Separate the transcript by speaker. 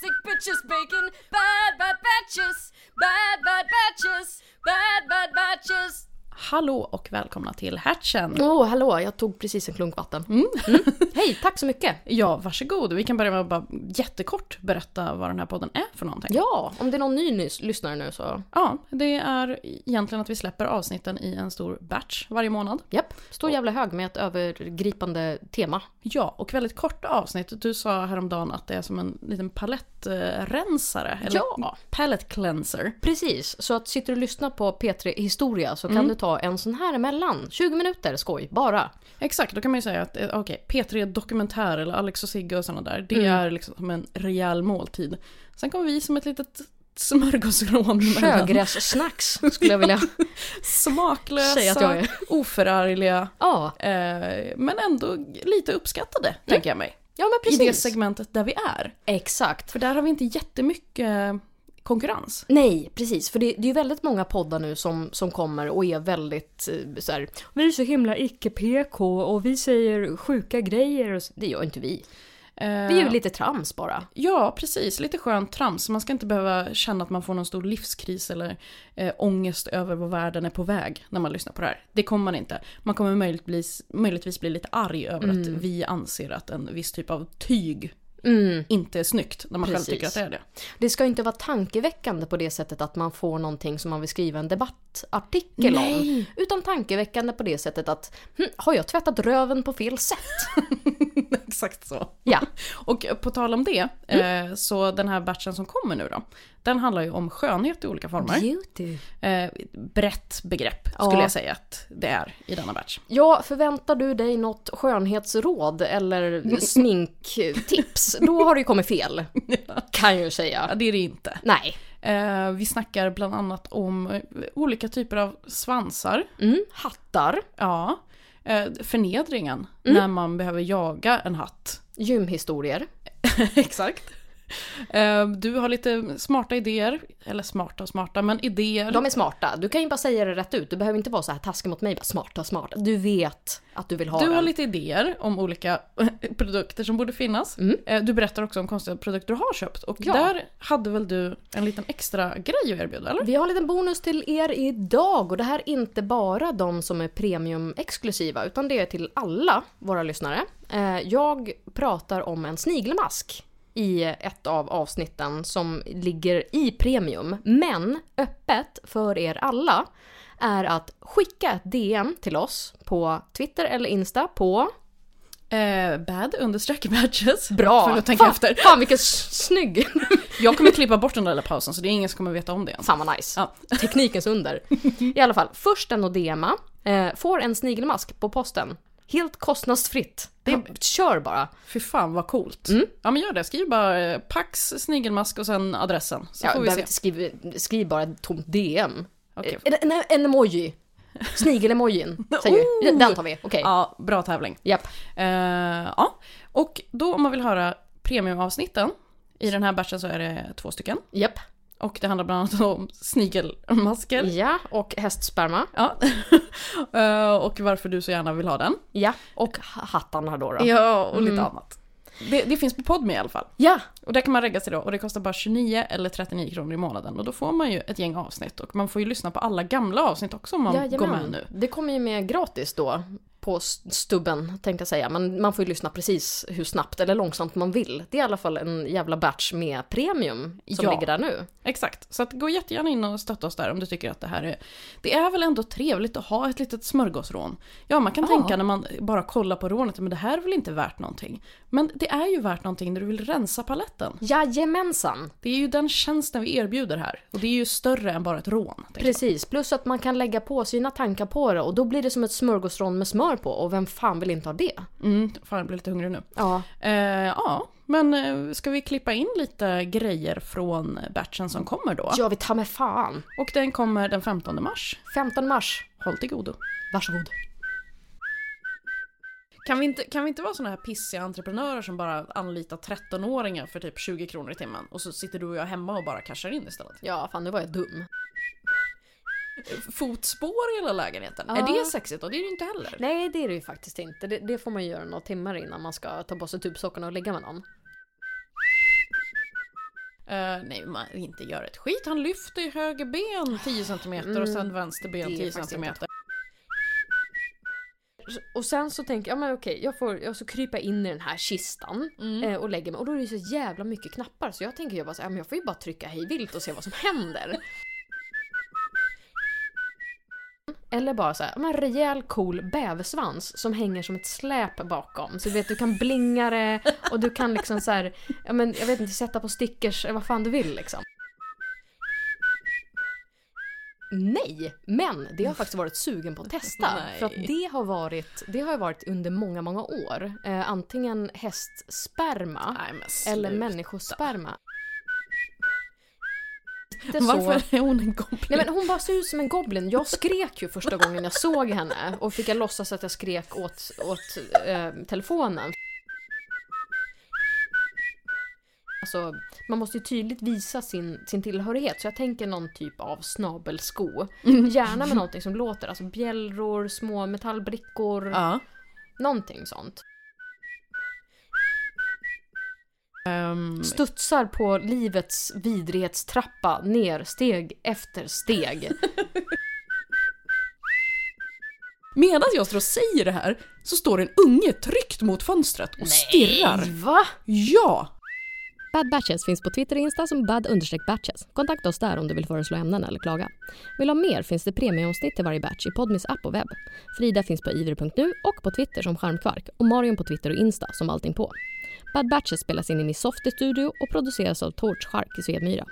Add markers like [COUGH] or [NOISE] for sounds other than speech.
Speaker 1: sandwiches, bacon, bad, bad batches, bad, bad batches, bad, bad batches.
Speaker 2: Hallå och välkomna till Hatchen!
Speaker 3: Åh, hallå, jag tog precis en klunk vatten. Mm. [LAUGHS] Hej, tack så mycket!
Speaker 2: Ja, varsågod. Vi kan börja med att bara jättekort berätta vad den här podden är för någonting.
Speaker 3: Ja, om det är någon ny nys- lyssnare nu så...
Speaker 2: Ja, det är egentligen att vi släpper avsnitten i en stor batch varje månad.
Speaker 3: Japp, stor jävla hög med ett övergripande tema.
Speaker 2: Ja, och väldigt korta avsnitt. Du sa häromdagen att det är som en liten palettrensare. Eller
Speaker 3: Ja.
Speaker 2: palette cleanser.
Speaker 3: Precis, så att sitter du och lyssnar på P3 Historia så kan du ta en sån här emellan. 20 minuter, skoj, [LAUGHS] bara.
Speaker 2: Exakt, då kan man ju säga att eh, okej, P3 Dokumentär eller Alex och Sigge och sådana där, det
Speaker 3: Mm.
Speaker 2: är liksom som en rejäl måltid. Sen kommer vi som ett litet smörgåsrån mellan
Speaker 3: Sjögrässnacks skulle jag vilja säga att jag
Speaker 2: smaklösa,
Speaker 3: är.
Speaker 2: oförargliga,
Speaker 3: [LAUGHS] Ja,
Speaker 2: eh, men ändå lite uppskattade, tänker jag mig.
Speaker 3: ja men
Speaker 2: I det
Speaker 3: precis.
Speaker 2: segmentet där vi är.
Speaker 3: Exakt.
Speaker 2: För där har vi inte jättemycket konkurrens.
Speaker 3: Nej, precis. För det, det är ju väldigt många poddar nu som, som kommer och är väldigt eh, så här, Vi är så himla icke-PK och vi säger sjuka grejer. Och så. Det gör inte vi.
Speaker 2: Eh,
Speaker 3: Vi är ju lite trams bara.
Speaker 2: Ja, precis. Lite skönt trams. Man ska inte behöva känna att man får någon stor livskris eller eh, ångest över vad världen är på väg när man lyssnar på det här. Det kommer man inte. Man kommer möjligtvis, möjligtvis bli lite arg över
Speaker 3: Mm.
Speaker 2: att vi anser att en viss typ av tyg inte är snyggt när man
Speaker 3: Precis.
Speaker 2: själv tycker att det är det.
Speaker 3: Det ska ju inte vara tankeväckande på det sättet att man får någonting som man vill skriva en debattartikel
Speaker 2: Nej.
Speaker 3: om. Utan tankeväckande på det sättet att hm, har jag tvättat röven på fel sätt? [LAUGHS]
Speaker 2: [LAUGHS] Exakt så.
Speaker 3: Ja.
Speaker 2: Och på tal om det,
Speaker 3: Mm.
Speaker 2: eh, så den här batchen som kommer nu då, den handlar ju om skönhet i olika former.
Speaker 3: Beauty.
Speaker 2: Eh, brett begrepp skulle
Speaker 3: Ja.
Speaker 2: jag säga att det är i denna
Speaker 3: [LAUGHS]
Speaker 2: batch.
Speaker 3: Ja, förväntar du dig något
Speaker 2: [LAUGHS]
Speaker 3: skönhetsråd eller sminktips, då har det ju kommit fel. Kan jag ju
Speaker 2: Ja,
Speaker 3: säga.
Speaker 2: det är det inte.
Speaker 3: Nej.
Speaker 2: Eh, vi snackar bland annat om eh, olika typer av svansar.
Speaker 3: Mm, hattar,
Speaker 2: Ja. Eh, förnedringen
Speaker 3: Mm.
Speaker 2: när man behöver jaga en hatt.
Speaker 3: gymhistorier.
Speaker 2: [LAUGHS] Exakt. Eh, du har lite smarta idéer, eller smarta och smarta, men idéer.
Speaker 3: De är smarta. Du kan ju bara säga det rätt ut. Du behöver inte vara så här taskig mot mig. Bara smarta, smarta. Du vet att du vill ha
Speaker 2: Du har
Speaker 3: den.
Speaker 2: lite idéer om olika [LAUGHS] produkter som borde finnas. Eh, Du berättar också om konstiga produkter du har köpt. Och
Speaker 3: Mm. Ja.
Speaker 2: där hade väl du en liten extra grej att erbjuda, eller?
Speaker 3: Vi har en liten bonus till er idag och det här är inte bara de som är premiumexklusiva utan det är till alla våra lyssnare. Eh, Jag pratar om en snigelmask i ett av avsnitten som ligger i premium. Men öppet för er alla är att skicka ett DM till oss på Twitter eller Insta på...
Speaker 2: Eh, bad understreck badges.
Speaker 3: Bra!
Speaker 2: För att tänka
Speaker 3: fan,
Speaker 2: efter.
Speaker 3: Fan vilken s-
Speaker 2: [LAUGHS]
Speaker 3: snygg!
Speaker 2: Jag kommer klippa bort den där lilla pausen så det är ingen som kommer veta om det ens.
Speaker 3: Fan vad nice.
Speaker 2: Ja.
Speaker 3: Teknikens under. I alla fall, först en att DMa, eh, får en snigelmask på posten. Helt kostnadsfritt. Det Kör bara.
Speaker 2: Fy fan vad coolt.
Speaker 3: Mm.
Speaker 2: Ja men gör det, skriv bara eh, Pax, snigelmask och sen adressen. Så
Speaker 3: Ja,
Speaker 2: får vi
Speaker 3: behöver
Speaker 2: se.
Speaker 3: inte skriv, skriv bara ett tomt DM.
Speaker 2: Okej.
Speaker 3: Eh, En, en, en emoji.
Speaker 2: [LAUGHS]
Speaker 3: Snigel-emojin. Säger vi.
Speaker 2: Oh!
Speaker 3: Den tar vi. Okej.
Speaker 2: Ja, bra tävling.
Speaker 3: Japp.
Speaker 2: Eh, ja. Och då om man vill höra premiumavsnitten, i den här batchen så är det två stycken.
Speaker 3: Japp.
Speaker 2: Och det handlar bland annat om snigelmasker.
Speaker 3: Ja, och hästsperma.
Speaker 2: Ja. [LAUGHS] Eh, och varför du så gärna vill ha den.
Speaker 3: Ja, och ha- hattarna då. då.
Speaker 2: Ja, och lite annat. Det, det finns på Podme i alla fall.
Speaker 3: Ja,
Speaker 2: Och där kan man regga sig då och det kostar bara 29 eller 39 kronor i månaden och då får man ju ett gäng avsnitt och man får ju lyssna på alla gamla avsnitt också om man går med nu.
Speaker 3: Det kommer ju med gratis då på s- stubben tänkte jag säga. Men man får ju lyssna precis hur snabbt eller långsamt man vill. Det är i alla fall en jävla batch med premium som
Speaker 2: Ja.
Speaker 3: ligger där nu.
Speaker 2: Exakt, så att gå jättegärna in och stötta oss där om du tycker att det här är... Det är väl ändå trevligt att ha ett litet smörgåsrån. Ja, man kan tänka när man bara kollar på rånet, men det här är väl inte värt någonting. Men det är ju värt någonting när du vill rensa paletten.
Speaker 3: Jajamensan!
Speaker 2: Det är ju den tjänsten vi erbjuder här och det är ju större än bara ett rån. tänker jag.
Speaker 3: Precis, plus att man kan lägga på sina tankar på det och då blir det som ett smörgåsrån med smör på och vem fan vill inte ha det?
Speaker 2: Mm, fan, jag blir lite hungrig nu.
Speaker 3: Ja.
Speaker 2: Eh, ja, men eh, ska vi klippa in lite grejer från batchen som kommer då?
Speaker 3: Ja, vi tar med fan!
Speaker 2: Och den kommer den 15 mars.
Speaker 3: 15 mars,
Speaker 2: Håll till godo.
Speaker 3: varsågod.
Speaker 2: Kan vi inte, kan vi inte vara såna här pissiga entreprenörer som bara anlitar 13-åringar för typ 20 kronor i timmen och så sitter du och jag hemma och bara cashar in istället?
Speaker 3: Ja, fan nu var jag dum.
Speaker 2: Fotspår i hela lägenheten,
Speaker 3: Ja.
Speaker 2: är det sexigt då? Det är det ju inte heller.
Speaker 3: Nej, det är det ju faktiskt inte. Det, det får man ju göra några timmar innan man ska ta på sig tubsockorna och lägga med någon.
Speaker 2: Eh, nej, man inte gör ett skit. Han lyfter ju höger ben 10 cm och sen vänster ben
Speaker 3: Mm, det är
Speaker 2: 10
Speaker 3: faktiskt
Speaker 2: cm.
Speaker 3: inte Och sen så tänker jag, ja, men okej, jag får jag ska krypa in i den här kistan eh, och lägger mig. Och då är det så jävla mycket knappar så jag tänker jag bara så här, ja, men jag får ju bara trycka hej vilt och se vad som händer. Eller bara så här, ja, men rejäl cool bäversvans som hänger som ett släp bakom. Så du vet, du kan blinga det och du kan liksom så här, ja, men jag vet inte, sätta på stickers, eh, vad fan du vill liksom. Nej, men det har jag faktiskt varit sugen på att testa.
Speaker 2: Nej.
Speaker 3: För att det har, varit, det har jag varit under många, många år. Eh, antingen hästsperma
Speaker 2: Nej, men
Speaker 3: eller
Speaker 2: slut.
Speaker 3: människosperma. Inte så-
Speaker 2: Varför är hon en kompis?
Speaker 3: Nej men hon bara såg ut som en goblin. Jag skrek ju första gången jag såg henne och fick jag låtsas att jag skrek åt, åt eh, telefonen. Alltså, man måste ju tydligt visa sin, sin tillhörighet så jag tänker någon typ av snabelsko. Gärna med någonting som låter, alltså bjällror, små metallbrickor,
Speaker 2: Ja.
Speaker 3: någonting sånt.
Speaker 2: Ehm,
Speaker 3: Studsar på livets vidrighetstrappa ner steg efter steg.
Speaker 2: medan jag står och säger det här så står en unge tryckt mot fönstret och stirrar.
Speaker 3: Va?
Speaker 2: Ja!
Speaker 4: Bad Batches finns på Twitter och Insta som bad-batches. Kontakta oss där om du vill föreslå ämnen eller klaga. Vill du ha mer finns det premieomsnitt till varje batch i Podmis app och webb. Frida finns på ivr.nu och på Twitter som Charmkvark och Marion på Twitter och Insta som allting på. Bad Batches spelas in i Miss Softy Studio och produceras av Torch Shark i Svedmyra.